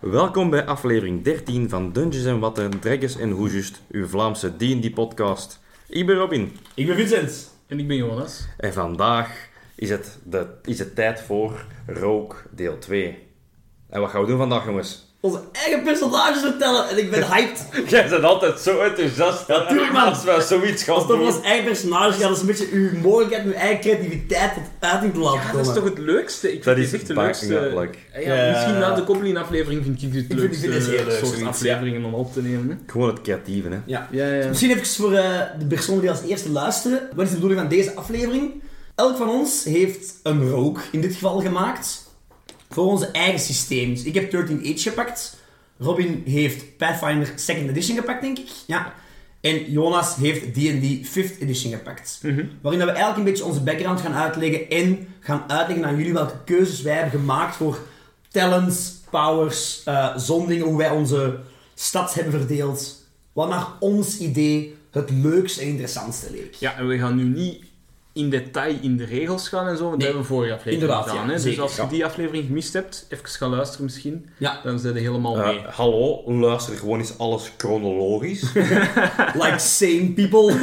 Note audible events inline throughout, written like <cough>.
Welkom bij aflevering 13 van Dungeons en Watten, Dragons en Hoesjust, uw Vlaamse D&D-podcast. Ik ben Robin Ik ben Vincent. En ik ben Jonas. en vandaag is het, de, is het tijd voor Rook deel 2. En wat gaan we doen vandaag, jongens? Onze eigen personages vertellen en ik ben hyped. <laughs> Jij bent altijd zo enthousiast tuurlijk, man. als we zoiets gaan Als dat doen. ons eigen personage gaat, dat is een beetje uw mogelijkheid, uw eigen creativiteit tot uiting te laten Ja, komen. dat is toch het leukste? Ik Dat vind is dit echt de backing leukste. up, like. Ja, ja, Ja. Misschien na de Goblin-aflevering vind ik dit vind- het ik leukste eh, vind het heel leuk, soort zoiets, afleveringen om op te nemen. hè. Gewoon het creatieve, hè. Ja. Ja, ja. Misschien even voor eh, de personen die als eerste luisteren. Wat is de bedoeling van deze aflevering? Elk van ons heeft een rook in dit geval gemaakt. Voor onze eigen systeem. Dus ik heb 13 Age gepakt. Robin heeft Pathfinder 2nd Edition gepakt, denk ik. Ja. En Jonas heeft D&D 5th Edition gepakt. Waarin dat we eigenlijk een beetje onze background gaan uitleggen. En gaan uitleggen aan jullie welke keuzes wij hebben gemaakt voor talents, powers, eh, zondingen. Hoe wij onze stads hebben verdeeld. Wat naar ons idee het leukste en interessantste leek. Ja, en we gaan nu niet in detail in de regels gaan en zo, want Nee. dat hebben we vorige aflevering Inderdaad, gedaan. ja, hè. dus zeker, als je ja. die aflevering gemist hebt, even gaan luisteren misschien, Ja, dan zijn we helemaal Eh, mee. hallo, luister gewoon eens alles <laughs> chronologisch. like sane people.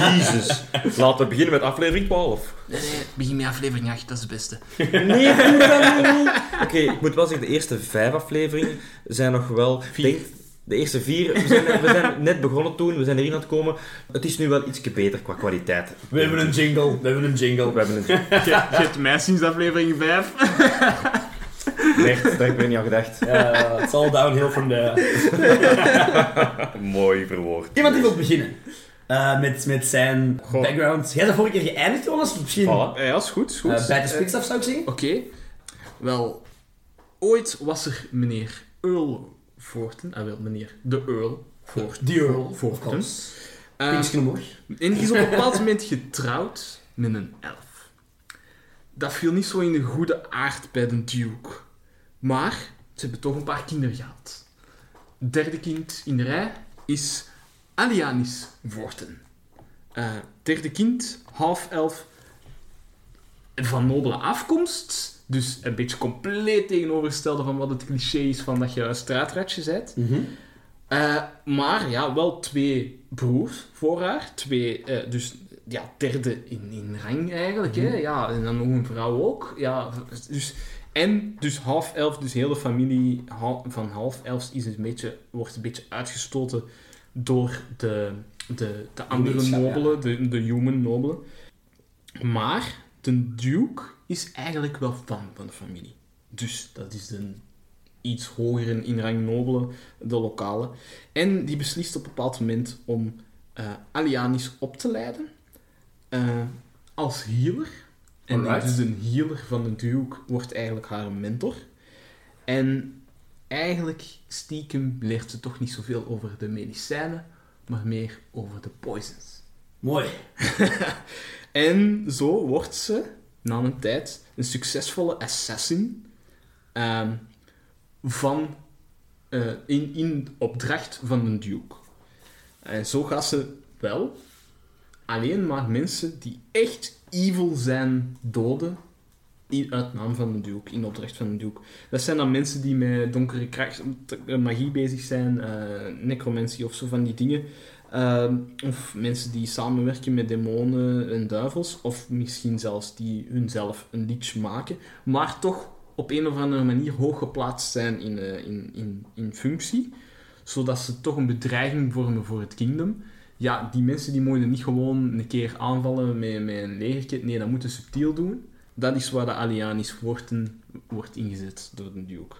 Jezus. Laten we beginnen met aflevering 12. Nee, nee, begin met aflevering 8, dat is het <laughs> beste. Nee, doe dat niet. Oké, ik moet wel zeggen, de eerste vijf afleveringen zijn nog wel... Vier. de eerste vier, we zijn, we zijn net begonnen toen, we zijn erin aan het komen. Het is nu wel ietsje beter qua kwaliteit. We hebben een jingle. We hebben een We jingle. hebben een... Je, je hebt mij sinds aflevering 5. Echt, daar heb ik niet aan gedacht. <laughs> Het zal downhill from there. Mooi verwoord. Iemand die wil beginnen. Eh, met, met zijn background. Jij bent vorige keer geëindigd, Jonas. Misschien Voilà. Ja, is goed, is goed. eh, bij de Eh, spits af, zou ik zeggen. Oké. Wel, ooit was er meneer Earl Voorten. Ah, wel, meneer de Earl Voorten. Die Earl. Voorten. Eh, Pinksken omhoog. en die is op een bepaald <laughs> moment getrouwd met een elf. Dat viel niet zo in de goede aard bij de Duke. Maar ze hebben toch een paar kinderen gehad. Het derde kind in de rij is Alianis Voorten. Eh, derde kind, half elf, van nobele afkomst. Dus een beetje compleet tegenovergestelde van wat het cliché is van dat je een straatratje bent. Eh, maar ja, wel twee broers voor haar. Twee, eh, dus ja, derde in, in rang eigenlijk. Hè? Ja, en dan nog een vrouw ook. Ja, dus, en dus half elf, dus hele familie ha- van half elf is een beetje, wordt een beetje uitgestoten door de, de, de andere Gemeenschap, ja. nobelen, de, de human nobelen. Maar de duke is eigenlijk wel fan van de familie. Dus dat is de iets hoger in rang nobele, de lokale. En die beslist op een bepaald moment om eh, Alianis op te leiden eh, als healer. En Alright. dus een healer van de Duke wordt eigenlijk haar mentor. En eigenlijk stiekem leert ze toch niet zoveel over de medicijnen, maar meer over de poisons. Mooi. En zo wordt ze na een tijd een succesvolle assassin ehm, van, eh, in, in opdracht van een duke. En zo gaat ze wel alleen maar mensen die echt evil zijn doden in, uit naam van de duke, in opdracht van de duke. Dat zijn dan mensen die met donkere kracht, eh, magie bezig zijn, eh necromantie of zo van die dingen. Ehm, of mensen die samenwerken met demonen en duivels, of misschien zelfs die hunzelf een leech maken, maar toch op een of andere manier hoog geplaatst zijn in, eh, in, in, in functie, zodat ze toch een bedreiging vormen voor het kingdom. Ja, die mensen die mogen niet gewoon een keer aanvallen met, met een legerkit, nee, dat moeten ze subtiel doen. Dat is waar de Alianis Worten wordt ingezet door de Duke.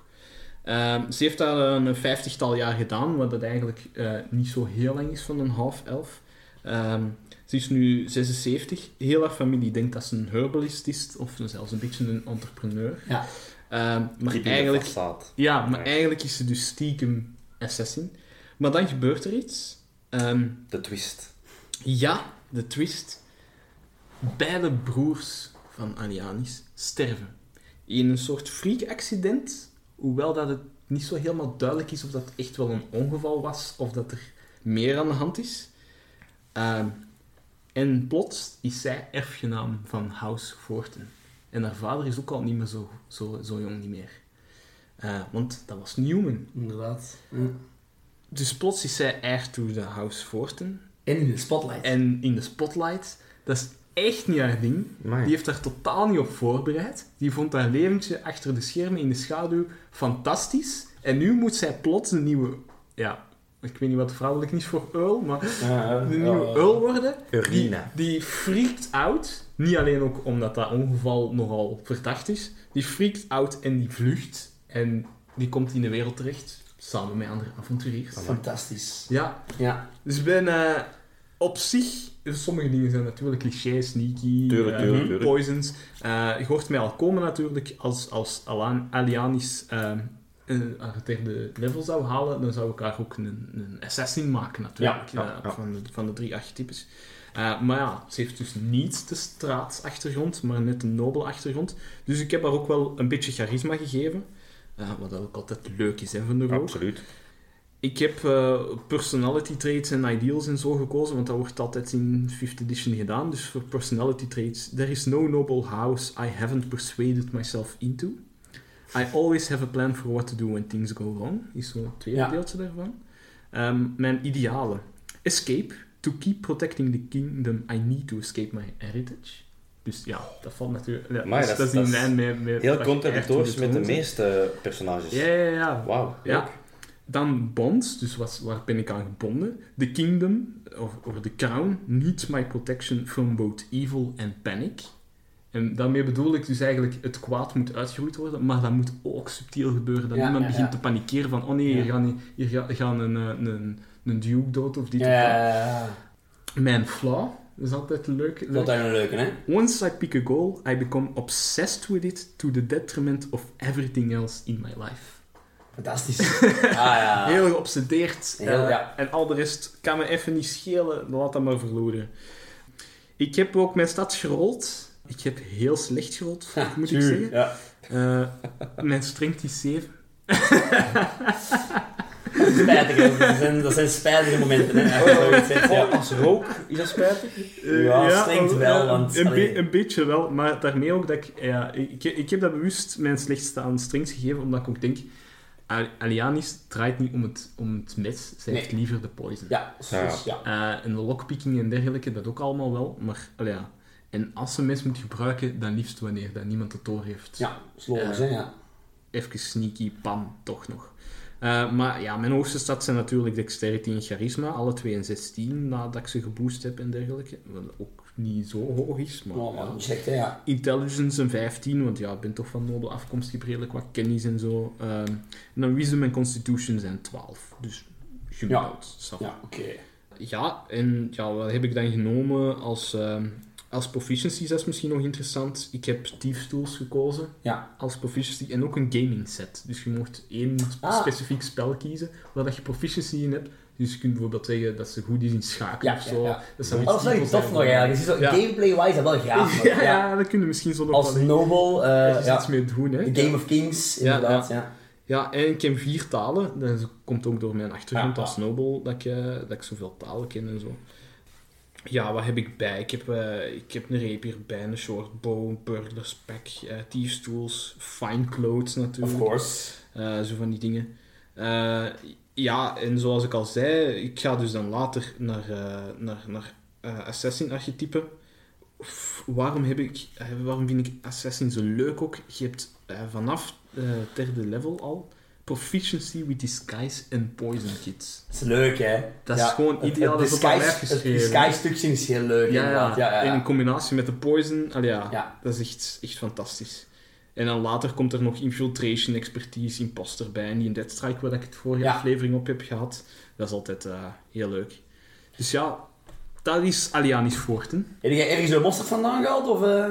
Ehm, ze heeft daar een vijftigtal jaar gedaan, wat dat eigenlijk eh, niet zo heel lang is van een half elf. Ehm, ze is nu 76. Heel haar familie denkt dat ze een herbalist is, of zelfs een beetje een entrepreneur. Ja. Ehm, maar Die eigenlijk staat. ja, maar Ja. eigenlijk is ze dus stiekem assassin. Maar dan gebeurt er iets. Ehm, De twist. ja, de twist. Beide broers van Alianis sterven. In een soort freak-accident. Hoewel dat het niet zo helemaal duidelijk is of dat echt wel een ongeval was of dat er meer aan de hand is. Ehm, En plots is zij erfgenaam van House Forten. En haar vader is ook al niet meer zo, zo, zo jong niet meer. Eh, want dat was Newman. Inderdaad. Ja. Dus plots is zij heir to the House Forten. En in de spotlight. En in de spotlight. Dat is echt niet haar ding. Amai. Die heeft daar totaal niet op voorbereid. Die vond haar leventje achter de schermen in de schaduw fantastisch. En nu moet zij plots een nieuwe... Ja, ik weet niet wat vrouwelijk is voor earl, maar... Eh, Oh. Ja, De ja. nieuwe earl worden. Urina. Die, die freakt out. Niet alleen ook omdat dat ongeval nogal verdacht is. Die freakt out en die vlucht. En die komt in de wereld terecht. Samen met andere avonturiers. Fantastisch. Ja, Ja. dus ik ben eh, op zich... dus Sommige dingen zijn natuurlijk clichés, sneaky, Tuurlijk, eh, tuurlijk, tuurlijk. poisons. Eh, je hoort mij al komen natuurlijk. Als, als Alan, Alianis eh, een- haar derde level zou halen, dan zou ik haar ook een, een assassin maken natuurlijk. Ja, ja, eh, ja. Van, de, van de drie archetypes. Eh, maar ja, ze heeft dus niet de straatachtergrond, maar net een nobele achtergrond. Dus ik heb haar ook wel een beetje charisma gegeven. Eh, wat dat ook altijd leuk is hè, van de rook. Absoluut. Ik heb eh, personality traits en ideals en zo gekozen, want dat wordt altijd in 5th edition gedaan. Dus voor personality traits, there is no noble house I haven't persuaded myself into. I always have a plan for what to do when things go wrong, is zo'n tweede Ja. deeltje daarvan. Ehm, mijn idealen. Escape. To keep protecting the kingdom, I need to escape my heritage. Dus ja, dat valt natuurlijk... Ja, Amai, dus dat dat, is- is in dat is lijn met... met Heel wat je contradictorisch eigenlijk met de doet. meeste personages. Ja, ja, ja. Wauw. Ja. Dan bond, dus wat, waar ben ik aan gebonden? The kingdom, of, of the crown, needs my protection from both evil and panic. En daarmee bedoel ik dus eigenlijk, het kwaad moet uitgeroeid worden, maar dat moet ook subtiel gebeuren. Dat Ja, niemand ja, begint ja. te panikeren van, oh nee, Ja. hier gaan, hier ga- gaan een, eh, een, een duke dood of dit Ja, of ja, ja. dat. Mijn flaw, dat is altijd leuk. Dat is een leuke, hè? Once I pick a goal, I become obsessed with it to the detriment of everything else in my life. <laughs> Fantastisch. Ah, ja. Heel geobsedeerd. Heel, eh, ja. En al de rest kan me even niet schelen. Laat dat maar verloren. Ik heb ook mijn stad gerold. Ik heb heel slecht gerold, moet ik Tuur, zeggen. Ja. Eh, mijn strength is 7. Spijtig, hè. dat zijn, dat zijn spijtige momenten, hè. Oh, Oh, Als je zoiets zegt, ja. Als rook, is dat spijtig? <laughs> Eh, Ja, strength wel, want, Een, allee. be- een beetje wel, maar daarmee ook dat ik... Ja, ik, ik heb dat bewust mijn slechtste aan strength gegeven, omdat ik ook denk... Al- Alianis draait niet om het, om het mes, zij Nee. heeft liever de poison. Ja, soms, ja. Eh, en de lockpicking en dergelijke, dat ook allemaal wel. Maar allee, ja. En als ze een mes moet gebruiken, dan liefst wanneer dat niemand het door heeft. Ja, is logisch, hè, ja. Even sneaky, pam, toch nog. Eh, maar ja, mijn hoogste stats zijn natuurlijk dexterity en charisma. Alle 2 en 16 nadat ik ze geboost heb en dergelijke. Wat ook niet zo hoog is, maar... Oh, maar ja. niet slecht, hè, ja. Intelligence een 15, want ja, ik ben toch van nobele afkomst, ik heb redelijk wat kennis en zo. Ehm, en dan wisdom en constitution zijn 12. Dus gemiddeld. ça va. Ja, oké. Ja, en ja, wat heb ik dan genomen als, ehm, als proficiency? Dat is misschien nog interessant. Ik heb Thieves Tools gekozen Ja. als proficiency en ook een gaming set. Dus je mocht één sp- Ah. specifiek spel kiezen waar dat je proficiency in hebt. Dus je kunt bijvoorbeeld zeggen dat ze goed is in schakelen Ja, of ja, zo. ja. Dat zou Oh, dat is iets wel evil tof zijn. nog eigenlijk. Het is zo- Ja. Gameplay-wise is dat wel gaaf. nog, <laughs> Ja, ja, dat kunnen we misschien zo nog Als wel even Noble, eh ja. iets mee doen. Hè? The Game of Kings, Ja, inderdaad, ja. Ja, en ik ken vier talen. Dat komt ook door mijn achtergrond Ja. als Snowball, dat ik, eh, dat ik zoveel talen ken en zo. Ja, wat heb ik bij? Ik heb, eh, ik heb een rapier bij, een short bow, een burglar's pack, eh thieves tools, fine clothes natuurlijk. Of course. Eh, zo van die dingen. Eh, ja, en zoals ik al zei, ik ga dus dan later naar, eh, naar, naar eh, Assassin-archetypen. F- Waarom, heb ik, eh, waarom vind ik Assassin zo leuk ook? Je hebt eh, vanaf eh derde level al proficiency with disguise en poison kits. Dat is leuk, hè. Dat Ja, is gewoon het- ideaal, dat Het is op haar lijf disguise- het geschreven. disguise-stukje is heel leuk, Ja, ja, inderdaad. Ja, ja, ja. En in combinatie met de poison, allee, ja, Ja. dat is echt, echt fantastisch. En dan later komt er nog infiltration, expertise, imposter bij. En die in Dead Strike, waar ik het vorige Ja. aflevering op heb gehad. Dat is altijd eh, heel leuk. Dus ja, dat is Alianis Forten. Heb jij ergens de mosterd vandaan gehaald? Of, eh?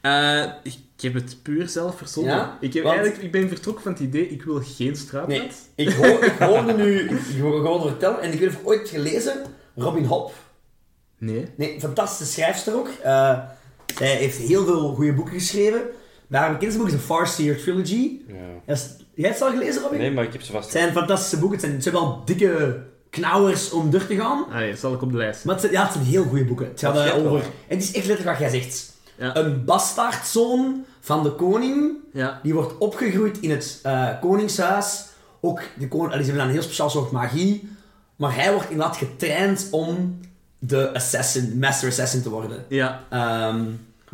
Eh, ik heb het puur zelf verzonnen. Ja? Ik, heb Want- eigenlijk, ik ben vertrokken van het idee, ik wil geen straat. Nee, ik, hoor, ik hoorde nu ik hoor- gewoon vertellen, en ik weet niet of je ooit gelezen, Robin Hobb. Nee. Nee, fantastische schrijfster ook. Eh, zij heeft heel veel goede boeken geschreven. Maar haar bekendste boek is de Farseer Trilogy. Ja. Dat is- Jij hebt ze al gelezen, Robin? Nee, maar ik heb ze vast. Het zijn fantastische boeken. Het zijn, het zijn wel dikke knauwers om door te gaan. Allee, dat zal ik op de lijst. Maar het zijn, ja, het zijn heel goede boeken. Het gaat Dat eh, gaat wel. over... En het is echt letterlijk wat jij zegt. Ja. Een bastaardzoon van de koning, Ja. die wordt opgegroeid in het eh, koningshuis. Ook de koning... allee, Ze hebben dan een heel speciaal soort magie. Maar hij wordt inderdaad getraind om de assassin, master assassin te worden. ja. Ehm,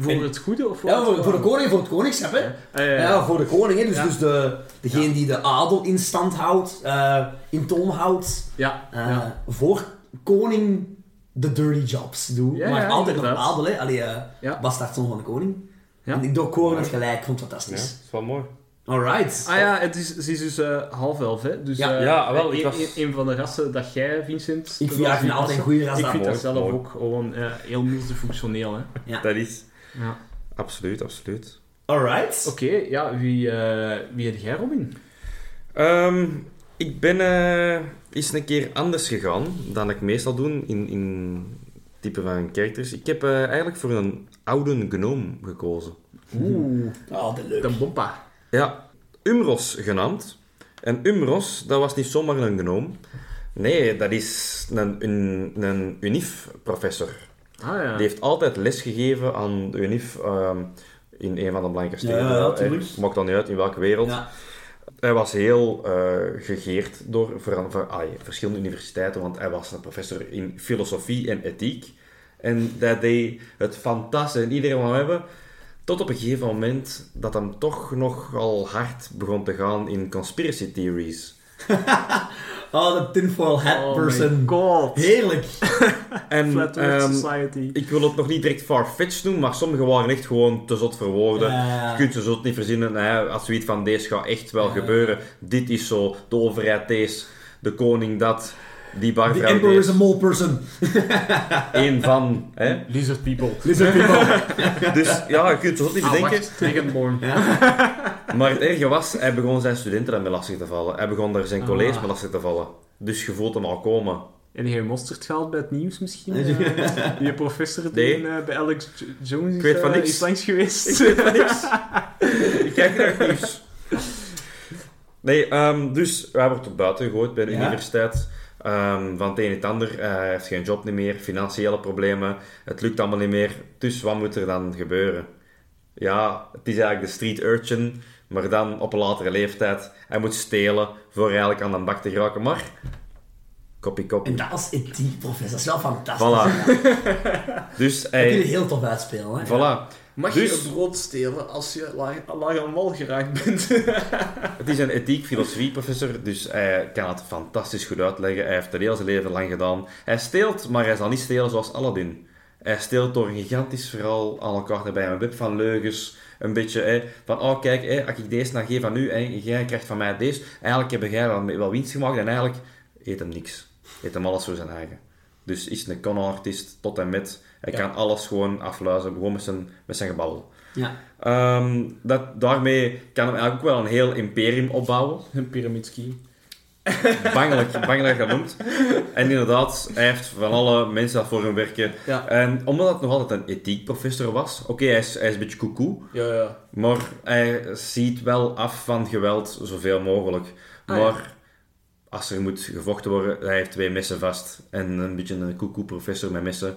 Voor En- het goede of ja, het voor, voor de kwade? koning, voor het koningschap, hè. Ah, ja, ja. Ja, voor de koning, hè. Dus, Ja. dus de, degene die de adel in stand houdt, eh, in toom houdt. Ja, Eh, ja. Voor koning de dirty jobs doe. Ja, maar ja, altijd nog inderdaad. adel, hè. Allee, eh Ja. bastaardzoon van de koning. Ja. En ik doe koren het gelijk, ik vond het Ja, dat fantastisch. is wel mooi. Alright. Ah ja, het is, ze is dus eh, half elf, hè? Dus, Ja. eh, Ja, wel, ik een, was- een- een van de rassen dat jij, Vincent. eh, Ik vind- ja, ik vind altijd een goede ras Ik dat- vind dat Mooi, zelf mooi. ook gewoon eh, heel multifunctioneel, hè? Dat is... Ja. Absoluut, absoluut. Alright. Oké, ja, wie, eh, wie heb jij, Robin? Ehm, ik ben eh eens een keer anders gegaan dan ik meestal doe in, in type van characters. Ik heb eh, eigenlijk voor een oude gnoom gekozen. Oeh, Oh, dat leuk. de bompa. Ja, Umros genaamd. En Umros, dat was niet zomaar een gnoom. Nee, dat is een, een, een UNIF-professor. Ah ja. Die heeft altijd lesgegeven aan de UNIF ehm, in een van de belangrijke steden. Ja, ja, Eh, tuurlijk. maakt dan niet uit in welke wereld. Ja. Hij was heel eh, gegeerd door ver- ver- ah, ja, verschillende universiteiten, want hij was een professor in filosofie en ethiek. En dat deed het fantastisch en iedereen wou hebben. Tot op een gegeven moment dat hem toch nogal hard begon te gaan in conspiracy <laughs> theories. Oh, de tinfoil hat Oh my person. god. Heerlijk. En Flat Earth ehm, Society. ik wil het nog niet direct farfetched doen, maar sommigen waren echt gewoon te zot voor Oh, woorden. Ja. Je kunt ze zo het niet verzinnen. Hè. Als zoiets van deze gaat echt wel Ja. gebeuren. Dit is zo. De overheid deze. De koning dat. Die The barvrouw emperor is a deze. mole person. Eén van. Hè. Lizard people. Lizard people. Dus ja, je kunt zo het niet Ah, bedenken. wacht, <laughs> Dragonborn. Maar het erge was, hij begon zijn studenten daarmee lastig te vallen. Hij begon daar zijn Ah. collega's mee lastig te vallen. Dus je voelt hem al komen. En die heeft mosterd gehaald bij het nieuws misschien? Eh, die professor die Nee. in, eh, bij Alex J- Jones is, Ik weet van eh, niks. is langs geweest. Ik kijk naar het nieuws. Nee, ehm, dus hij wordt er buiten gegooid bij de Ja. universiteit. Ehm, van het een en het ander. Eh, hij heeft geen job niet meer, financiële problemen. Het lukt allemaal niet meer. Dus wat moet er dan gebeuren? Ja, het is eigenlijk de street urchin, maar dan op een latere leeftijd. Hij moet stelen voor eigenlijk aan de bak te geraken. Maar, kopie En kopie. dat als ethiek, professor. Dat is wel fantastisch. Voilà. Ja. Dat Dus kun je hij... heel tof uitspelen. Hè. Voilà. Mag je je brood stelen als je laag, aan wal geraakt bent? <laughs> Het is een ethiek filosofie professor, dus hij kan het fantastisch goed uitleggen. Hij heeft het heel zijn leven lang gedaan. Hij steelt, maar hij zal niet stelen zoals Aladdin. Hij steelt door een gigantisch verhaal aan elkaar te bij een web van leugens. Een beetje hè, van, oh kijk, hè, als ik deze dan geef aan u en jij krijgt van mij deze, eigenlijk heb jij wel, wel winst gemaakt en eigenlijk eet hem niks. Eet hem alles voor zijn eigen. Dus is een con-artist tot en met. Hij Ja. kan alles gewoon afluizen, gewoon met zijn, met zijn gebabbel. Ja. Ehm, dat, daarmee kan hem eigenlijk ook wel een heel imperium opbouwen. <laughs> Een pyramidski. <laughs> Bangelijk, bangelijk dat noemt. En inderdaad, hij heeft van alle mensen dat voor hem werken. Ja. En omdat het nog altijd een ethiekprofessor was, oké, hij, is, hij is een beetje koekoe, Ja, ja. maar hij ziet wel af van geweld zoveel mogelijk. Ah, maar als er moet gevochten worden, hij heeft twee messen vast. En een beetje een koekoe-professor met messen.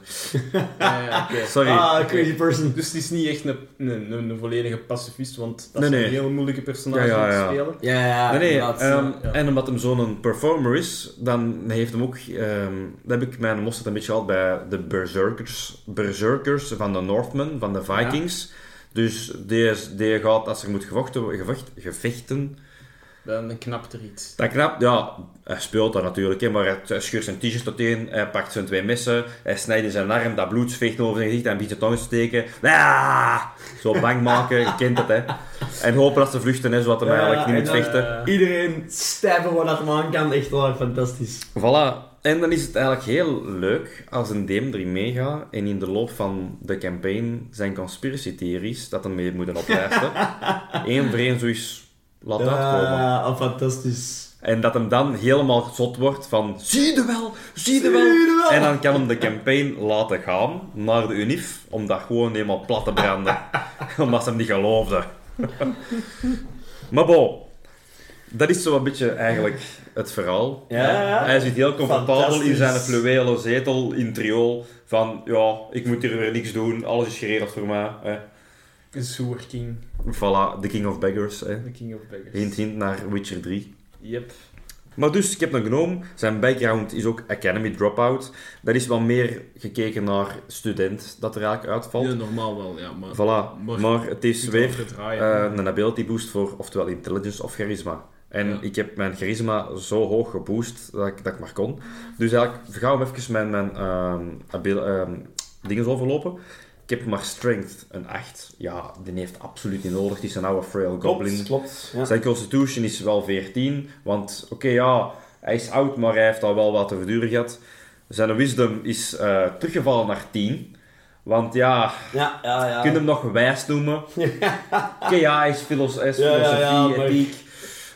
ja, <laughs> ja, oké. Sorry. Ah, crazy person. Dus het is niet echt een, een, een, een volledige pacifist, want dat Nee, is nee. een heel moeilijke personage Ja, ja, om te ja. spelen. Ja, ja, ja. Nee, nee, Ah, inderdaad. ehm, ja. En omdat hem zo'n performer is, dan heeft hem ook... ehm dat heb ik mijn mosterd een beetje gehad bij de berserkers, berserkers van de Northmen, van de Vikings. Dus die, is- die gaat, als er moet gevochten, gevecht, gevechten... Dan een knap er iets. Dan knap, ja, hij speelt dat natuurlijk, hè, maar hij- hij scheurt zijn t-shirt tot één, hij pakt zijn twee messen, hij snijdt in zijn arm, dat bloed veegt over zijn gezicht en begint zijn tong te steken. Ah! Zo bang maken, je kent het, hè. En hopen dat ze vluchten, hè, zodat hij Ja, eigenlijk niet en moet dan, vechten. Eh, Iedereen stijven wat dat man kan, echt waar, fantastisch. Voilà. En dan is het eigenlijk heel leuk als een DM erin meegaat en in de loop van de campaign zijn conspiracy theories dat hem mee moeten oplijsten. Eén voor één zoiets laat uitkomen. Ja, oh, fantastisch. En dat hem dan helemaal zot wordt van zie je wel, zie je Zie je wel. wel. En dan kan hem de campaign laten gaan naar de UNIF om dat gewoon helemaal plat te <laughs> branden. Omdat ze hem niet geloofden. maar bon, Dat is zo een beetje eigenlijk het verhaal. Ja, ja. Hij zit heel comfortabel in zijn Fantastisch. fluwelen zetel in triool. Van, ja, ik moet hier weer niks doen. Alles is geregeld voor mij. Hè. Sewer King, Voilà, The King of Beggars. Hè. The King of Beggars. Hint, hint naar Witcher 3. Yep. Maar dus, ik heb een gnome. Zijn background is ook Academy Dropout. Dat is wel meer gekeken naar student dat er eigenlijk uitvalt. Ja, normaal wel, ja, maar... Voilà, Maar- maar, het is Niet weer overdraaien. eh, een ability boost voor oftewel intelligence of charisma. En Ja. ik heb mijn charisma zo hoog geboost dat ik, dat ik maar kon. Dus eigenlijk, ga hem even mijn, mijn ehm, abil- ehm, dingen overlopen. Ik heb maar strength, een 8. Ja, die heeft absoluut niet nodig. Die is een oude frail goblin. Klopt, klopt. Ja. Zijn constitution is wel 14, want oké, ja, hij is oud, maar hij heeft al wel wat te verduren gehad. Zijn wisdom is eh, teruggevallen naar 10. Want ja, Ja, ja, ja. je kunt hem nog wijs <laughs> noemen. Oké, ja, hij is, filos hij is Ja, ja, filosofie, ja, maar- ethiek.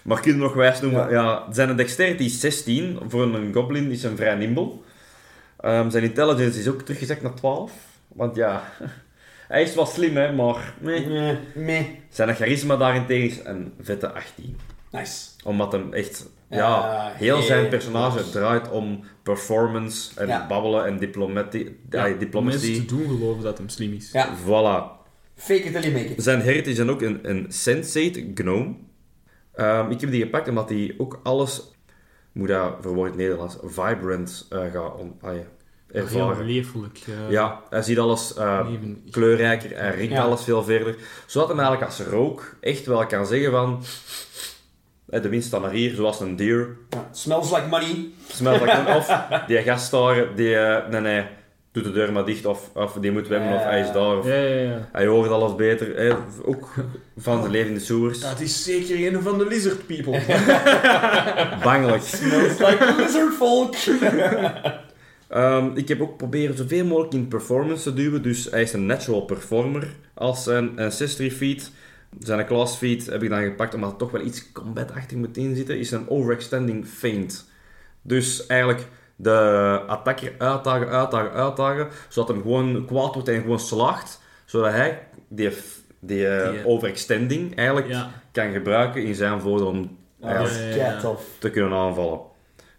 Maar je kunt hem nog wijs noemen. Ja. Ja. Zijn dexterity is 16. Voor een goblin is een vrij nimble. Ehm, zijn intelligence is ook teruggezakt naar 12. Want ja, <laughs> hij is wel slim, hè, maar... nee. Nee, nee. Zijn charisma daarentegen is een vette 18. Nice. Omdat hem echt... Eh, Ja, Ja, heel heel zijn personage goed. draait om performance en Ja. babbelen en diplomati- Ja, eh, om Mensen diplomatie. te doen geloven dat hem slim is. Ja. Voilà. Fake it till you make it. Zijn hert is dan ook een, een sensate gnome. Ehm, ik heb die gepakt omdat hij ook alles, moet dat verwoord in het Nederlands, vibrant eh gaat on- ah, ja, Heel ervaren. leeflijk. eh, Ja, hij ziet alles eh, leven. kleurrijker, hij riekt Ja. alles veel verder. Zodat hij eigenlijk als rook echt wel kan zeggen van, eh, de wind staat naar hier, zoals een deer, Ja. Smells like money. smelt dat dan of die gast daar, die, eh, nee nee, doet de deur maar dicht, of, of die moet wemmen, of hij is daar, of Ja, ja, ja. hij hoort alles beter. hè. ook van zijn leven in de sewers. Dat is zeker een van de lizard people. Bangelijk. Smells like lizard folk. <laughs> Ehm, ik heb ook proberen zoveel mogelijk in performance te duwen. Dus hij is een natural performer als zijn ancestry feat. Zijn class feat heb ik dan gepakt omdat er toch wel iets combatachtig moet inzitten. Is een overextending feint. Dus eigenlijk de attacker uitdagen, uitdagen, uitdagen. Zodat hem gewoon kwaad wordt en gewoon slaagt. Zodat hij die, die, eh, Die, eh, overextending eigenlijk <laughs> ja. kan gebruiken in zijn voordeel om Ah, dat eigenlijk is Ja, ja, ja. kei tof. te kunnen aanvallen.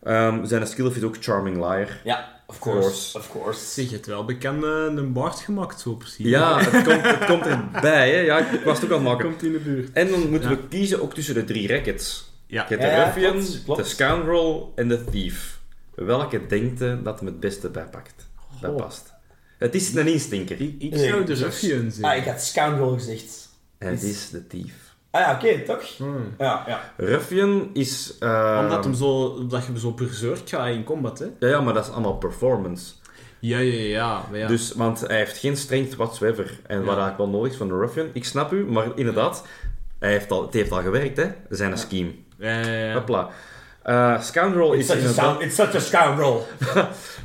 Ehm, zijn skill feat ook Charming Liar. Ja, of course. Of course. Zeg, je hebt wel bekend eh, een baard gemaakt, zo precies. Ja, het komt, het komt erbij, hè. Ja, ik was het ook aan het maken. Komt in de buurt. En dan moeten Ja. we kiezen ook tussen de drie rackets. Ja. Je hebt Ja, de ja, ruffian, klopt, klopt. de scoundrel en de thief. Welke denkt je dat hem het beste bijpakt? Dat Goh. past. Het is een instinker. Ik, ik Nee, zou de dus- ruffian zijn. Ah, ik had scoundrel gezegd. Het is de thief. Ah ja, oké, toch? Hmm. Ja, ja. Ruffian is... eh, Omdat hem zo, omdat je hem zo berserk gaat in combat, hè? Ja, ja, maar dat is allemaal performance. Ja, ja, ja. Maar ja. Dus, want hij heeft geen strength whatsoever. En wat eigenlijk wel nodig is van een ruffian. Ik snap u, maar inderdaad, hij heeft al, het heeft al gewerkt, hè. Zijn scheme. Ja, ja, ja. Hopla. Eh, scoundrel It's is such, a inderdaad... scound- it's such a scoundrel.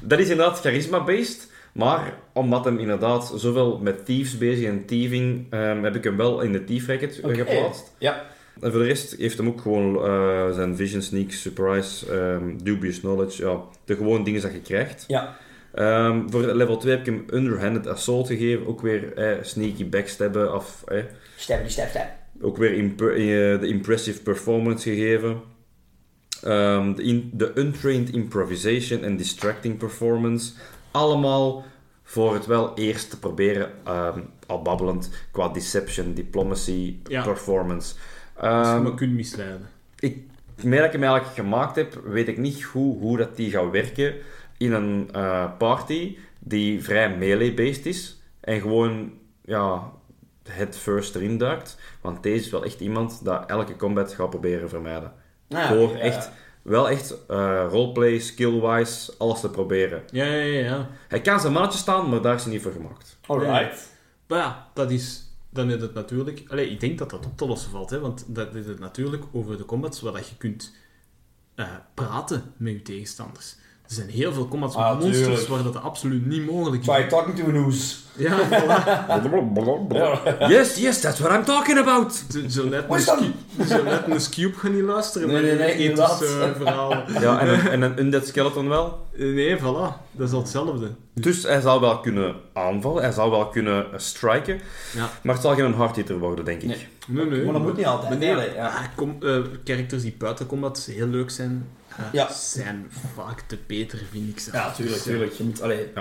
Dat is inderdaad charisma-based, maar omdat hem inderdaad zoveel met thieves bezig en thieving, ehm, heb ik hem wel in de thief racket eh, geplaatst. Ja. En voor de rest heeft hem ook gewoon eh, zijn vision, sneak, surprise, ehm, dubious knowledge, ja, de gewone dingen dat je krijgt. Ja. Ehm, voor level 2 heb ik hem underhanded assault gegeven, ook weer eh, sneaky backstabben of... eh, Stab, die stab, stab. ook weer imp- eh, de impressive performance gegeven. Ehm, de, in- de untrained improvisation en distracting performance. Allemaal voor het wel eerst te proberen, ehm, al babbelend, qua deception, diplomacy, Ja. performance. Dus je Ehm, me kunt misleiden. ik, meer dat ik hem eigenlijk gemaakt heb, weet ik niet goed hoe dat die gaat werken in een eh, party die vrij melee-based is en gewoon ja, het first erin duikt. Want deze is wel echt iemand dat elke combat gaat proberen vermijden. Ah, Door ja. echt, wel echt eh, roleplay, skill-wise, alles te proberen. Ja, ja, ja. ja. Hij kan zijn mannetje staan, maar daar is hij niet voor gemaakt. <laughs> Alright. Maar ja, dat is... Dan is het natuurlijk... Allee, ik denk dat dat op te lossen valt, hè. Want dat is het natuurlijk over de combats waar dat je kunt eh, praten met je tegenstanders. Er zijn heel veel combats met Ah, monsters tuurlijk. waar dat absoluut niet mogelijk is. Try talking to an ooze. Ja, voilà. Yes, yes, that's what I'm talking about. Ze- Ze Wat is dat? letten een Cube gaan niet luisteren. Nee, maar nee, nee, het is, inderdaad. eh, verhaal. Ja, en een, en een undead skeleton wel. Nee, voilà. Dat is al hetzelfde. Dus hij zou wel kunnen aanvallen, hij zou wel kunnen eh, striken. Ja. Maar het zal geen hardhitter worden, denk ik. Nee. Nee, nee. Maar dat moet niet altijd. Nee, hè, ja. ah, kom, eh, characters die buiten combat heel leuk zijn, eh, Ja. zijn vaak te beter, vind ik zelf. Ja, tuurlijk, tuurlijk. Je moet, allee.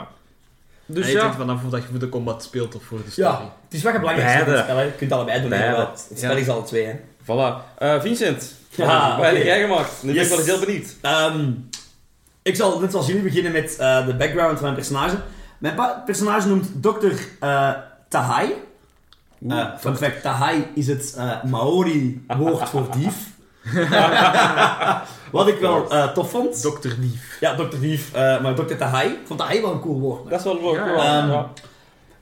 Dus je denkt ja, vanaf of dat je voor de combat speelt of voor de story. Ja, het is wel belangrijk. Beide. in het spel, hè. Je kunt allebei doen. hè, Beide. maar Het het spel Ja. is alle twee. hè. voilà. Eh, Vincent, Ja, wat heb oké. jij gemaakt? Nu ben Yes. ik wel eens heel benieuwd. Ehm, ik zal net zoals jullie beginnen met eh, de background van mijn personage. Mijn pa- personage noemt Dr. eh Tahai. Eh, fun fact, Tahai is het eh, Maori-woord voor <laughs> dief. Wat ik wel eh, tof vond. Dr. Dief. Ja, Dr. Dief, eh, maar Dr. Tahai. Ik vond Tahai wel een cool woord. Dat is wel leuk. Ja, hoor. ja. Ehm, Ja.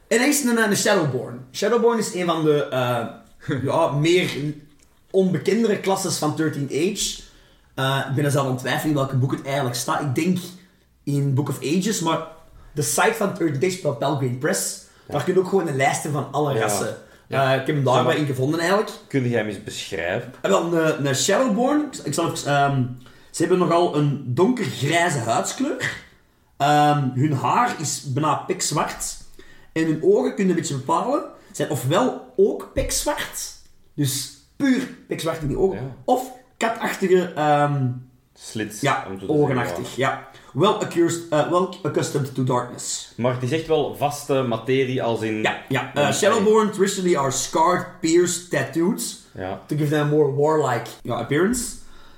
En hij is een, een Shadowborn. Shadowborn is een van de eh, <laughs> ja, meer onbekendere klasses van 13 Age. Eh, ik ben er zelf aan het twijfelen in welke boek het eigenlijk staat. Ik denk in Book of Ages, maar de site van 13 Age spelt Pelgrim Press. Daar kun je ook gewoon een lijst hebben van alle Ja. rassen. Eh, ik heb hem daar maar in gevonden eigenlijk. Kun jij hem eens beschrijven? En wel, een, een Shadowborn, ik- ik zal even, ehm, ze hebben nogal een donkergrijze huidskleur. Ehm, hun haar is bijna pikzwart. En hun ogen kunnen een beetje bepalen, zijn ofwel ook pikzwart, dus puur pikzwart in die ogen, Ja. of katachtige ehm, Slits. ja, om zo te ogenachtig. zeggen. Ja. Well, accused, eh, well accustomed to darkness. Maar het is echt wel vaste materie als in... Ja, ja. Uh, Shadowborn traditionally are scarred, pierced, tattooed. Ja. To give them a more warlike you know, appearance.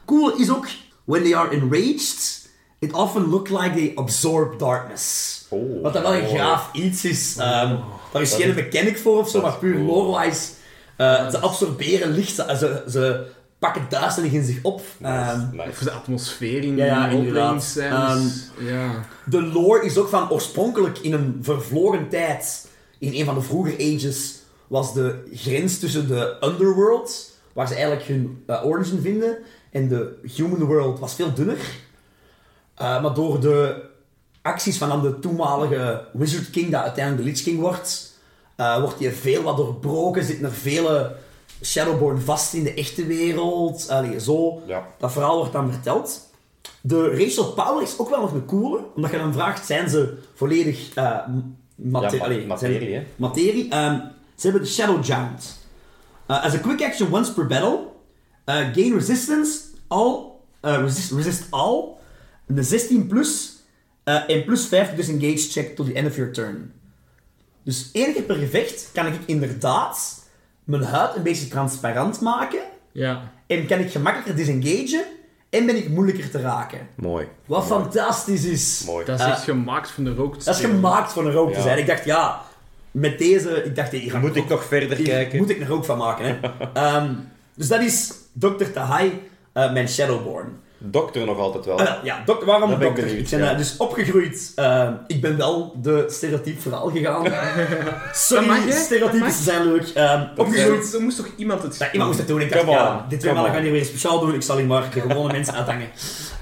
Cool is ook, when they are enraged, it often look like they absorb darkness. Oh, Wat dan wel een mooi. Oh, graaf iets is. ehm, daar is geen mechanic voor of zo, maar puur cool. lore-wise. eh, ze absorberen licht, ze, ze, ze pakken duisternis in zich op. Ehm, Nice. Voor de atmosfeer in Ja, ja, de inderdaad. Ehm, roleplaying scènes. ja. De lore is ook van oorspronkelijk in een vervloren tijd, in een van de vroege ages, was de grens tussen de underworld, waar ze eigenlijk hun eh, origin vinden, en de human world was veel dunner. Eh, maar door de acties van dan de toenmalige Wizard King, dat uiteindelijk de Lich King wordt, eh, wordt hier veel wat doorbroken, zitten er vele Shadowborn vast in de echte wereld. Allee, zo. Ja. Dat verhaal wordt dan verteld. De racial power is ook wel nog een coole, omdat je dan vraagt, zijn ze volledig eh, m- Ja, mate- ma- allee, materie, zijn- hè? materie. Ehm, ze hebben de Shadow Giant. Uh, as a quick action once per battle, uh, gain resistance, all, uh, resist, resist all, de 16 plus, eh, en plus 5 disengage check tot the end of your turn. Dus één keer per gevecht kan ik inderdaad mijn huid een beetje transparant maken, ja. en kan ik gemakkelijker disengagen, en ben ik moeilijker te raken. Mooi. Wat fantastisch is. Mooi. Dat is echt gemaakt van de rook te eh, Dat is spelen. gemaakt voor een rook te Ja. zijn. Ik dacht, ja, met deze... Ik dacht, hier ga Eh, Moet ik nog verder hier kijken? Moet ik er ook van maken, hè. <laughs> Ehm, dus dat is Dr. Tahai, eh, mijn Shadowborn. Dokter nog altijd wel. Ah, wel, ja, dok- waarom Dat ben ik dokter? Ik, benieuwd, ben ja. eh, dus opgegroeid. ehm, ik ben wel de stereotyp verhaal <laughs> gegaan. Sorry, Dat mag, hè? Dat stereotypen mag. zijn leuk. Ehm, Er opgegroeid. moest, er moest toch iemand het Ja, iemand moest dat doen. Ik dacht, Come ja, on, dit come tweemaal on. gaan niet weer speciaal doen. Ik zal hier maar de gewone mensen uithangen.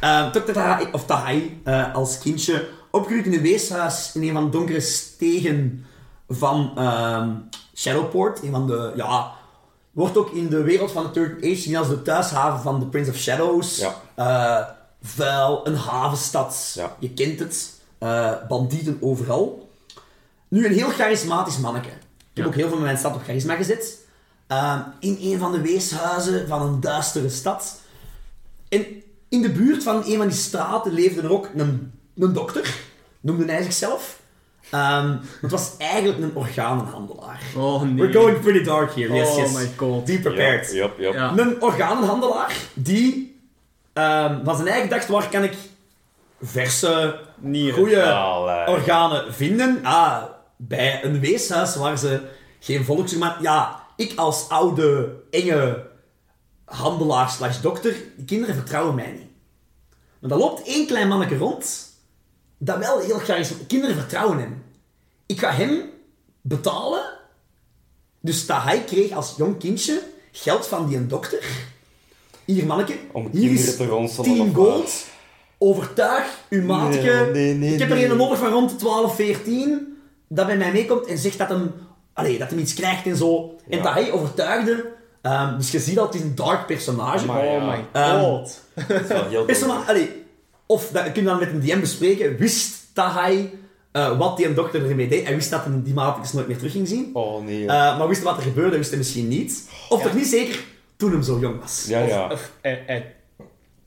Ehm Dr. Tahai, of Tahai, eh, als kindje. Opgegroeid in een weeshuis in een van de donkere stegen van ehm, Shadowport. Een van de, ja... Wordt ook in de wereld van de Third Age gezien als de thuishaven van de Prince of Shadows. Ja. Eh, vuil, een havenstad. Ja. Je kent het. Eh, bandieten overal. Nu een heel charismatisch manneke. Ik heb Ja. ook heel veel met mijn stad op charisma gezet. Ehm, in een van de weeshuizen van een duistere stad. En in de buurt van een van die straten leefde er ook een, een dokter, noemde hij zichzelf. Ehm, het was eigenlijk een organenhandelaar. Oh nee. We're going pretty dark here, yes, Oh yes. my god. Be Ja, prepared. ja, ja. Ja. Een organenhandelaar die ehm, van zijn eigen dacht, waar kan ik verse, Nieren. goede Allee. organen vinden? Ah, bij een weeshuis waar ze geen volk zijn. Maar ja, ik als oude, enge handelaar slash dokter, die kinderen vertrouwen mij niet. Maar dan loopt één klein manneke rond, dat wel heel charismatisch... Kinderen vertrouwen hem. Ik ga hem betalen dus dat hij kreeg als jong kindje geld van die dokter. Hier, manneke. Om hier kinderen is te ronselen, 10 of wat? gold. overtuig uw maatje. nee, nee, ik heb er nee. een nodig van rond de 12, 14, dat bij mij meekomt en zegt dat hem, allee, dat hem iets krijgt en zo. En Ja. dat hij overtuigde. Ehm, dus je ziet dat het is een dark personage. Maar ja. Oh my Ehm, god. Dat is wel heel Persona, allee, of dat, je kunt dan met een DM bespreken, wist dat hij eh, wat die een dokter ermee deed. Hij wist dat hij die maatjes nooit meer terug ging zien. Oh nee. joh. Eh, maar wist wat er gebeurde, wist hij misschien niet. Of toch niet zeker toen hem zo jong was. ja, ja. Of, of hij, hij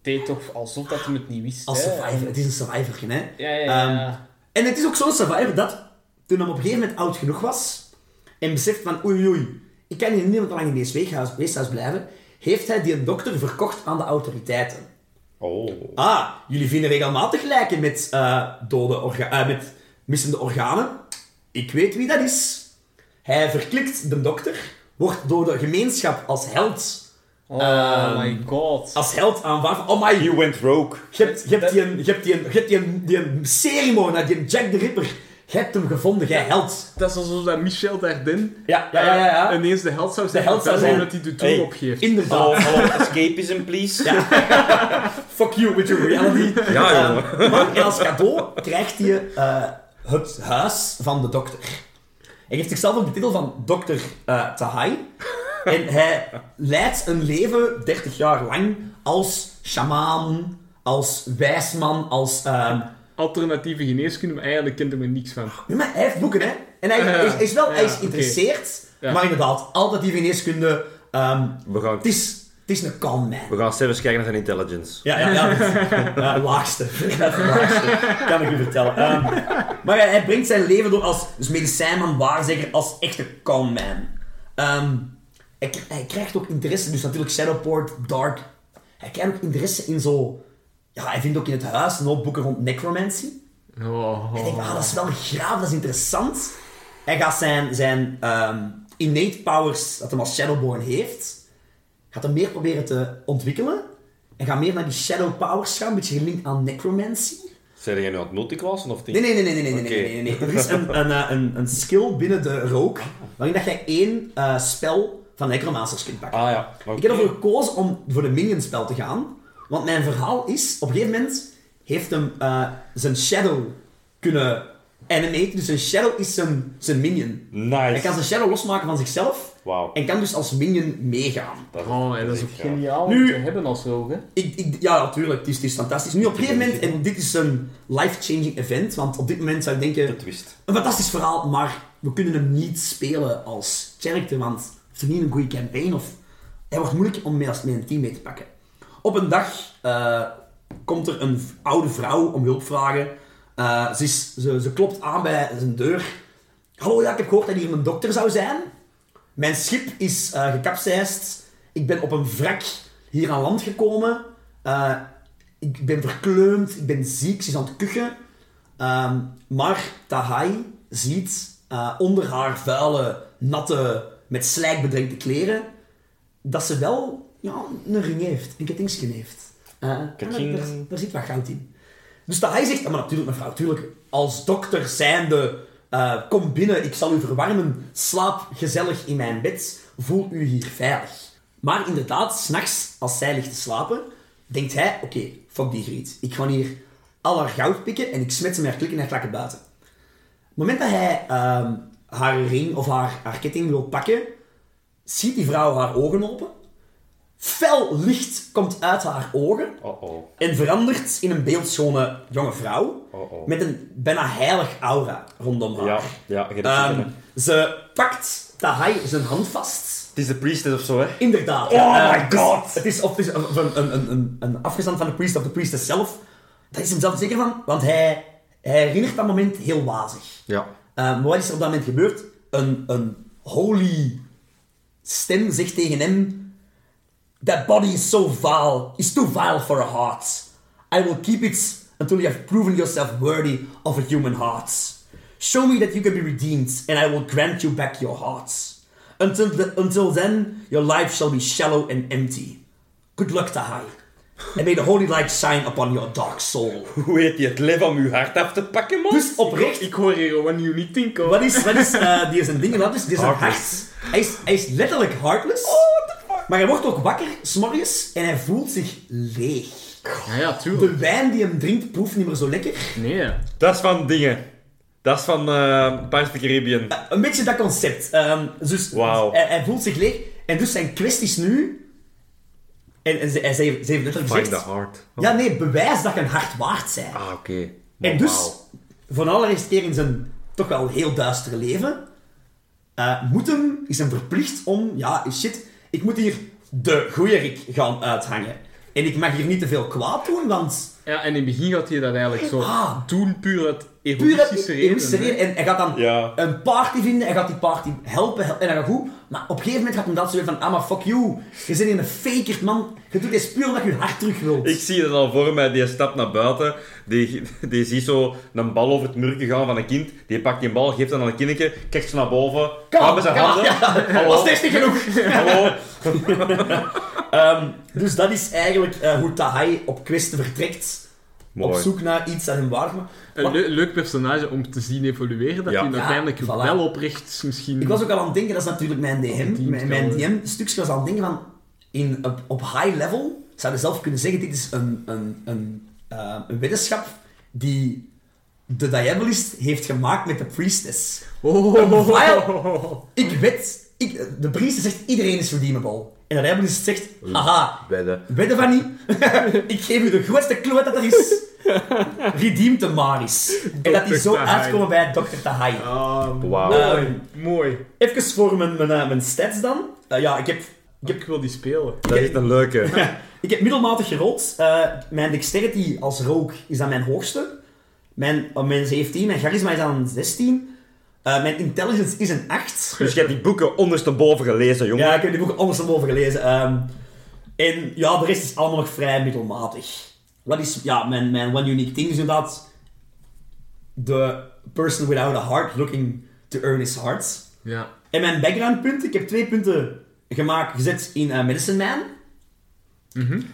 deed toch alsof dat hij het niet wist. Als hè? survivor, het is een survivor, hè? Ja, ja, ja. Ehm, en het is ook zo'n survivor dat toen hij op een gegeven moment oud genoeg was en beseft van oei oei, ik kan hier niet lang in deze weeghuis- weeshuis blijven, heeft hij die dokter verkocht aan de autoriteiten. Oh. Ah, jullie vinden regelmatig lijken met eh, dode orga- eh, met missende organen. Ik weet wie dat is. Hij verklikt de dokter, wordt door de gemeenschap als held, oh my god. als held aanvaard. van, Oh my, You went rogue. je hebt, je hebt die, een- je hebt die, een- je hebt die, een- die een seriemoordenaar, die een Jack de Ripper. Je hebt hem gevonden, jij held. Dat is alsof dat Michel Dardin eh, Ja, ja, ja, ja. ja. ineens de held zou zijn. held zou dat is zijn. omdat hij de Hey. tour opgeeft. Inderdaad. Hallo, hallo, escapism please. <laughs> Ja. Fuck you with your reality. Ja, jongen. Ehm, maar en als cadeau krijgt hij eh, het huis van de dokter. Hij geeft zichzelf ook de titel van dokter eh, Tahai. En hij leidt een leven 30 jaar lang als shamaan, als wijsman, als... ehm, Alternatieve geneeskunde, maar eigenlijk kent hij er niks van. Oh, Nee, maar hij heeft boeken, hè. En hij, Ja, hij is, hij is wel ja, hij is oké. geïnteresseerd, Ja. maar inderdaad, altijd die geneeskunde... ehm, We gaan, het, is, het is een con man. we gaan zelfs kijken naar zijn intelligence. Ja, ja, ja. Eh, laagste. <laughs> Dat is de laagste. Kan ik u vertellen. Ehm, maar hij, hij brengt zijn leven door als dus medicijnman, waarzegger, als echte calm man. Ehm, hij, k- hij krijgt ook interesse, dus natuurlijk Shadowport, Dark. Hij krijgt ook interesse in zo... Ja, hij vindt ook in het huis een hoop boeken rond necromancy. Oh. Ik denk, ah, dat is wel graaf, dat is interessant. Hij gaat zijn, zijn ehm, innate powers, dat hij als Shadowborn heeft, gaat hem meer proberen te ontwikkelen. En gaat meer naar die shadow powers gaan, een beetje gelinkt aan necromancy. Zijn jij nu aan het multiclassen of niet? Nee, nee, nee, nee, nee, nee, nee, Oké. nee, nee, nee, nee. Er is een, een, eh, een, een skill binnen de rook, waarin dat jij één eh, spel van necromancers kunt pakken. Ah ja. Ik heb ervoor gekozen om voor de minion spel te gaan. Want mijn verhaal is, op een gegeven moment heeft hem eh, zijn shadow kunnen animaten. Dus zijn shadow is zijn, zijn minion. Hij kan Nice. zijn shadow losmaken van zichzelf. Wauw. En kan dus als minion meegaan. Dat Oh, en dat is ook ja. geniaal om Nu- te hebben als rogue, hè? Ik, ik, ja, natuurlijk. Het is, het is fantastisch. Nu op een gegeven moment, en dit is een life-changing event. Want op dit moment zou ik denken, De twist. een fantastisch verhaal. Maar we kunnen hem niet spelen als character. Want het heeft niet een goede campaign. Of hij wordt moeilijk om mee als met een team mee te pakken. Op een dag eh, komt er een v- oude vrouw om hulp vragen. Eh, ze, is, ze, ze klopt aan bij zijn deur. Hallo, ja, ik heb gehoord dat hier een dokter zou zijn. Mijn schip is eh gekapseist. Ik ben op een wrak hier aan land gekomen. Eh, ik ben verkleumd, ik ben ziek, ze is aan het kuchen. Ehm, maar Tahai ziet eh, onder haar vuile, natte, met slijk bedrenkte kleren dat ze wel ja, een ring heeft, een kettingsje heeft. Eh, Ketting. daar, daar zit wat goud in. Dus dat hij zegt, "Ah, maar natuurlijk mevrouw, tuurlijk, als dokter zijnde, eh, kom binnen, ik zal u verwarmen, slaap gezellig in mijn bed, voel u hier veilig. Maar inderdaad, s'nachts, als zij ligt te slapen, denkt hij, oké, fuck die griet, ik ga hier al haar goud pikken en ik smet ze met haar klikken en haar klakken buiten. Op het moment dat hij ehm, haar ring of haar, haar ketting wil pakken, ziet die vrouw haar ogen open. Fel licht komt uit haar ogen Oh oh. en verandert in een beeldschone jonge vrouw Oh, oh. met een bijna heilig aura rondom haar. Ja, ja. je hebt Ehm, het gezien, hè. ze pakt Tahai zijn hand vast. Het is de priestess of zo, hè? Inderdaad. Oh Ehm, my dus God. Het is, of het is een, een, een, een, een afgestand van de priest of de priestess zelf. Daar is hem zelf zeker van, want hij, hij herinnert dat moment heel wazig. Ja. Uh, maar wat is er op dat moment gebeurd? Een, een holy stem zegt tegen hem: That body is so vile, is too vile for a heart. I will keep it until you have proven yourself worthy of a human heart. Show me that you can be redeemed, and I will grant you back your heart. Until, the, until then, your life shall be shallow and empty. Good luck, Tahai. And may the holy light shine upon your dark soul. Hoe heet die het lef om uw hart af te pakken, man? Dus oprecht, Ik hoor hier One You Need Think Wat is, wat is eh, die is een ding, wat is, die is een Heartless. hart. Hij is, hij is letterlijk heartless. Maar hij wordt ook wakker, s'morgens, en hij voelt zich leeg. Ja, ja, tuurlijk. De wijn die hem drinkt proeft niet meer zo lekker. Nee. Dat is van dingen. Dat is van eh Pirates of the Caribbean. Een beetje dat concept. Ehm, dus Wauw. hij, hij voelt zich leeg. En dus zijn kwesties nu... En, en ze, en ze, heeft- ze heeft letterlijk Find the gezegd... heart. Ja, nee, bewijs dat je een hart waard bent. Ah, oké. En dus, Wauw. van allereerst keer in zijn toch wel heel duistere leven, eh, moet hem, is hem verplicht om, ja, shit, ik moet hier de goeie Rick gaan uithangen. En ik mag hier niet te veel kwaad doen, want Ja, en in het begin gaat hij dat eigenlijk zo Ah. doen, puur uit puur egoïstische dat redenen. hè. reden. En hij gaat dan Ja. een party vinden, hij gaat die party helpen, helpen, en dat gaat goed. Maar op een gegeven moment gaat hem dat zo weer van, ah, maar fuck you, je bent een fakerd man, je doet dit puur omdat je je hart terug wilt. Ik zie het al voor mij, die stapt naar buiten, die, die ziet zo een bal over het murkje gaan van een kind, die pakt die bal, geeft dan aan een kindje, kijkt ze naar boven, gaat met zijn Kom, handen. ja, dat Hallo, was steeds niet <laughs> genoeg. hallo. Ehm, dus dat is eigenlijk eh, hoe Tahai op kwestie vertrekt. Mooi. Op zoek naar iets dat hem waard maakt. Een le- leuk personage om te zien evolueren, dat Ja. hij Ja, uiteindelijk voilà. wel oprecht misschien... Ik was ook al aan het denken, dat is natuurlijk mijn DM. Mijn, mijn DM-stukje was aan het denken van... In, op, op high level zou je zelf kunnen zeggen, dit is een, een, een, eh, een wetenschap die de Diabolist heeft gemaakt met de Priestess. Oh, Een vile- Ik weet... Ik, de Priestess zegt, iedereen is redeemable. En de Diabolist zegt, haha, Wedden. Weet van <laughs> niet? ik geef u de grootste kloot dat er is. Redeem de Maris. En dat die zo Tahai. uitkomen bij Dr. Tahai. Ah, Wauw. Mooi, Ehm, mooi. Even voor mijn, mijn, eh, mijn stats dan. Eh, ja, ik heb, ik, heb, Ik wil die spelen. Dat is echt een leuke. ik heb middelmatig gerold. Eh, mijn dexterity als rook is dan mijn hoogste. Mijn, eh, mijn 17, mijn charisma is dan een 16. Eh, mijn intelligence is een <laughs> 8. <laughs> Dus je hebt die boeken ondersteboven gelezen, jongen. Ja, ik heb die boek anders dan boven gelezen. Ehm, en ja, de rest is allemaal nog vrij middelmatig. Wat is, ja, mijn, mijn one unique thing is inderdaad... The person without a heart looking to earn his heart. Ja. En mijn backgroundpunten, ik heb twee punten gemaakt, gezet in eh, Medicine Man.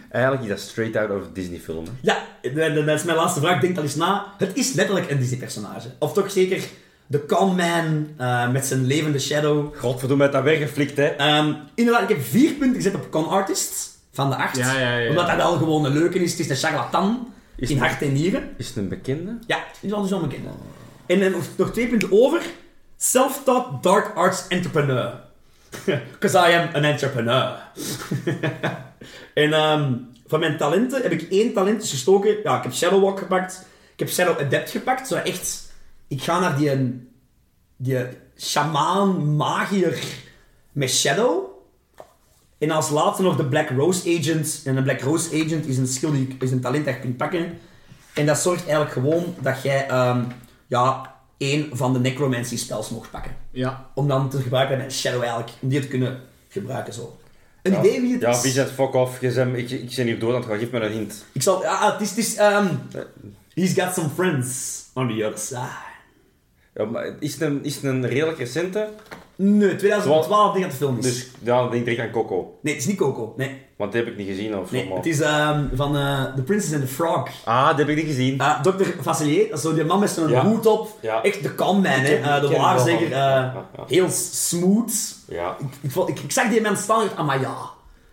Eigenlijk is dat straight out of Disney film. hè. Ja, dat- dat dat is mijn laatste vraag. Denk al eens na. Het is letterlijk een Disney-personage. Of toch zeker de calm man eh, met zijn levende shadow. Godverdomme, het dat weggeflikt, hè. Ehm, inderdaad, ik heb vier punten gezet op Con Artist van de acht. Ja, ja, ja. Omdat dat wel gewoon een leuke is. Het is een charlatan Is in het- hart en nieren. Is het een bekende? Ja, is al zo Oh. bekend. En dan nog- nog twee punten over. Self-taught dark arts <laughs> entrepreneur. Because I am an entrepreneur. en ehm, van mijn talenten heb ik één talent dus gestoken. Ja, ik heb Shadow Walk gepakt. Ik heb Shadow Adept gepakt. Zo echt... Ik ga naar die... Die shamaan, magier met Shadow. En als laatste nog de Black Rose Agent. En een Black Rose Agent is een skill, die, is een talent dat je kunt pakken. En dat zorgt eigenlijk gewoon dat jij ehm, ja, één van de necromancy spells mocht pakken. Ja. Om dan te gebruiken met Shadow eigenlijk, om die te kunnen gebruiken zo. Een idee wie het Ja, is? Vincent, fuck off. Je bent- ik, ik ben hier dood aan het gaan. Geef me een hint. Ik zal... Ah, het is... Het is ehm, he's got some friends Oh, Ah. on the other side. Ja, maar is het een, is het een redelijk recente? Nee, 2012 denk ik dat de film is. Dus ja, dan denk ik direct aan Coco. Nee, het is niet Coco. Nee, Want die heb ik niet gezien of zo. nee maar- het is ehm, van eh, The Princess and the Frog. Ah, die heb ik niet gezien. Eh, Dr. Facilier, dat is zo die man met zo'n Ja. hoed op. Ja. Echt de calm man, hè. ken- Eh, ik de ken waarzegger. hem eh wel. Ja, ja. Heel s- smooth. Ja, Ik, ik, vond- ik, ik zag die man staan en ik dacht, ah, maar ja.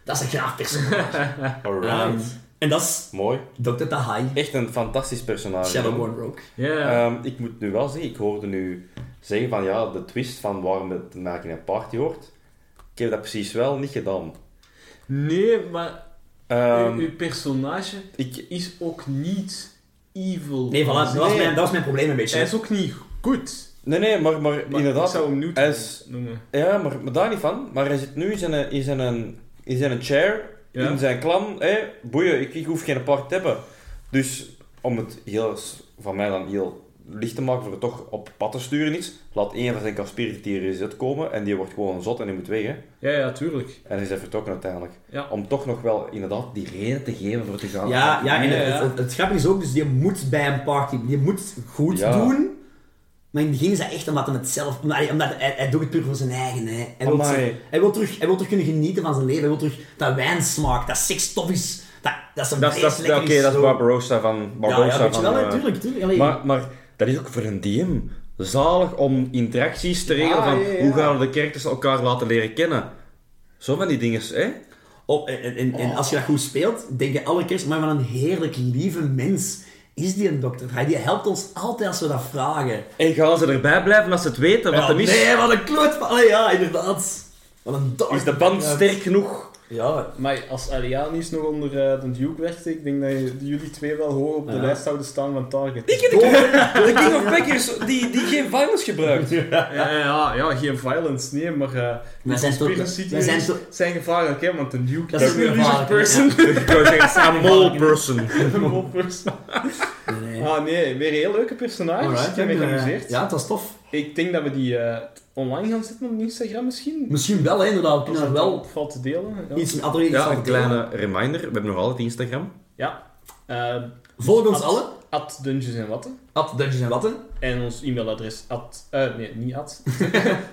Dat is een <laughs> graaf personage. Ehm, alright. en dat is Mooi. Dr. Tahai, Echt een fantastisch personage. Shadowborn Rogue. Ja. Ehm, ik moet nu wel zeggen, ik hoorde nu zeggen van ja, de twist van waarom het te maken in een party hoort. Ik heb dat precies wel niet gedaan. Nee, maar Ehm, uw, uw personage ik, is ook niet evil. Nee, voilà, dat, was Nee. mijn, dat was mijn probleem een beetje. Hij is ook niet goed. nee, nee, maar, maar, Maar inderdaad. Ik zou hem Newton hij is- noemen. Ja, maar, maar daar niet van. Maar hij zit nu in zijn, in zijn, in zijn chair, Ja. in zijn klan. Hé, boeien, ik, ik hoef geen party te hebben. Dus om het heel, van mij dan heel licht te maken voor het toch op pad te sturen iets, laat één van zijn conspiratieren in zit komen en die wordt gewoon zot en die moet weg. Hè. Ja, ja, tuurlijk. En is hij vertrokken uiteindelijk. Ja. Om toch nog wel inderdaad die reden te geven voor te gaan. Ja, ja, en Ja, het, ja. het, het grappige is ook, dus je moet bij een party, je moet goed Ja. doen. Maar in het begin is dat echt omdat hij het zelf... Omdat, hij- omdat hij, hij doet het puur voor zijn eigen, hè. Hij wil, Amai. zijn- hij, wil terug, hij wil terug kunnen genieten van zijn leven. Hij wil terug dat wijn smaakt, dat seks tof is, dat, dat zijn Dat is, dat is, vlees lekker Oké, dat is zo. Barbarossa van... Ja, Barbarossa ja, weet je van, wel, eh, natuurlijk, natuurlijk. Allee. Maar, maar dat is ook voor een DM zalig om interacties te regelen van ja, ja. hoe gaan we de characters elkaar laten leren kennen. Zo van die dingen, hè? Op, en, en, en als je dat goed speelt, denk je alle keer, maar wat een heerlijk lieve mens is die een dokter. Hij die helpt ons altijd als we dat vragen. En gaan ze erbij blijven als ze het weten wat Ja, hem is? Nee, wat een kloot van... Allee, ja, inderdaad. Wat een dark Is de band Ja. sterk genoeg? Ja, Maar als Arianis nog onder eh, de Duke werkte, ik denk dat je- jullie twee wel hoog op de Ja. lijst zouden staan van Target. ken de King <laughs> of Packers die, die geen violence gebruikt. Ja, ja, ja, geen violence, nee, maar eh wij zijn toch... conspiracy Wij zijn theories toch... zijn gevaarlijk, hè, want een Duke Dat <laughs> is een religious gevaarlijk, hè, person. Ik zou zeggen, I'm all person. Een mol person. Nee. Ah nee, weer heel leuke personages. Alright, ik heb me eh, geamuseerd. Ja, het was tof. Ik denk dat we die eh, online gaan zetten op Instagram misschien. Misschien wel, hè, inderdaad. We Als kunnen het er wel valt te delen. Ja. iets met andere iets Ja, van een delen. kleine reminder. We hebben nog altijd Instagram. Ja. Eh, Volg ons At- allen. At Dungeons en Watten. At Dungeons en Watten. En ons e-mailadres at... eh, nee, <laughs> niet at.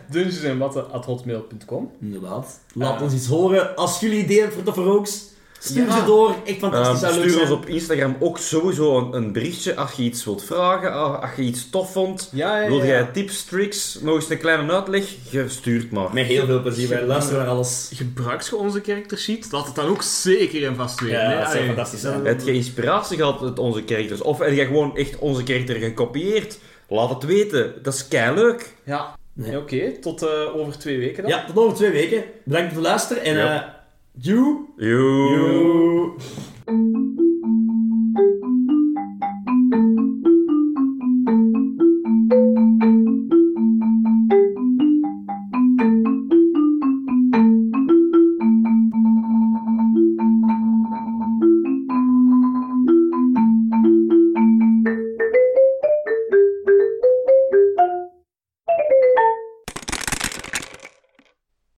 Dungeons en Watten at hotmail.com. Inderdaad. Laat Eh. ons iets horen. Als jullie ideeën hebben voor Toffe Rooks, stuur Ja. ze door. Echt Ehm, fantastisch. zou leuk stuur ons zijn. op Instagram ook sowieso een, een berichtje als je iets wilt vragen, ah, als je iets tof vond. Ja, ja, Wil ja. jij tips, tricks, nog eens een kleine uitleg? Gestuurd maar. Met heel veel plezier. Wij luisteren naar alles. Gebruik je onze character sheet? Laat het dan ook zeker en vast weten. Ja, hè. dat zou Allee, fantastisch zijn. Heb je inspiratie gehad uit onze characters? Of heb je gewoon echt onze character gekopieerd? Laat het weten. Dat is kei leuk. Ja. Nee. Oké, tot eh, over twee weken dan. eh, Ja, tot over twee weken. Bedankt voor het luisteren. En Ja. eh... you. Joe. you.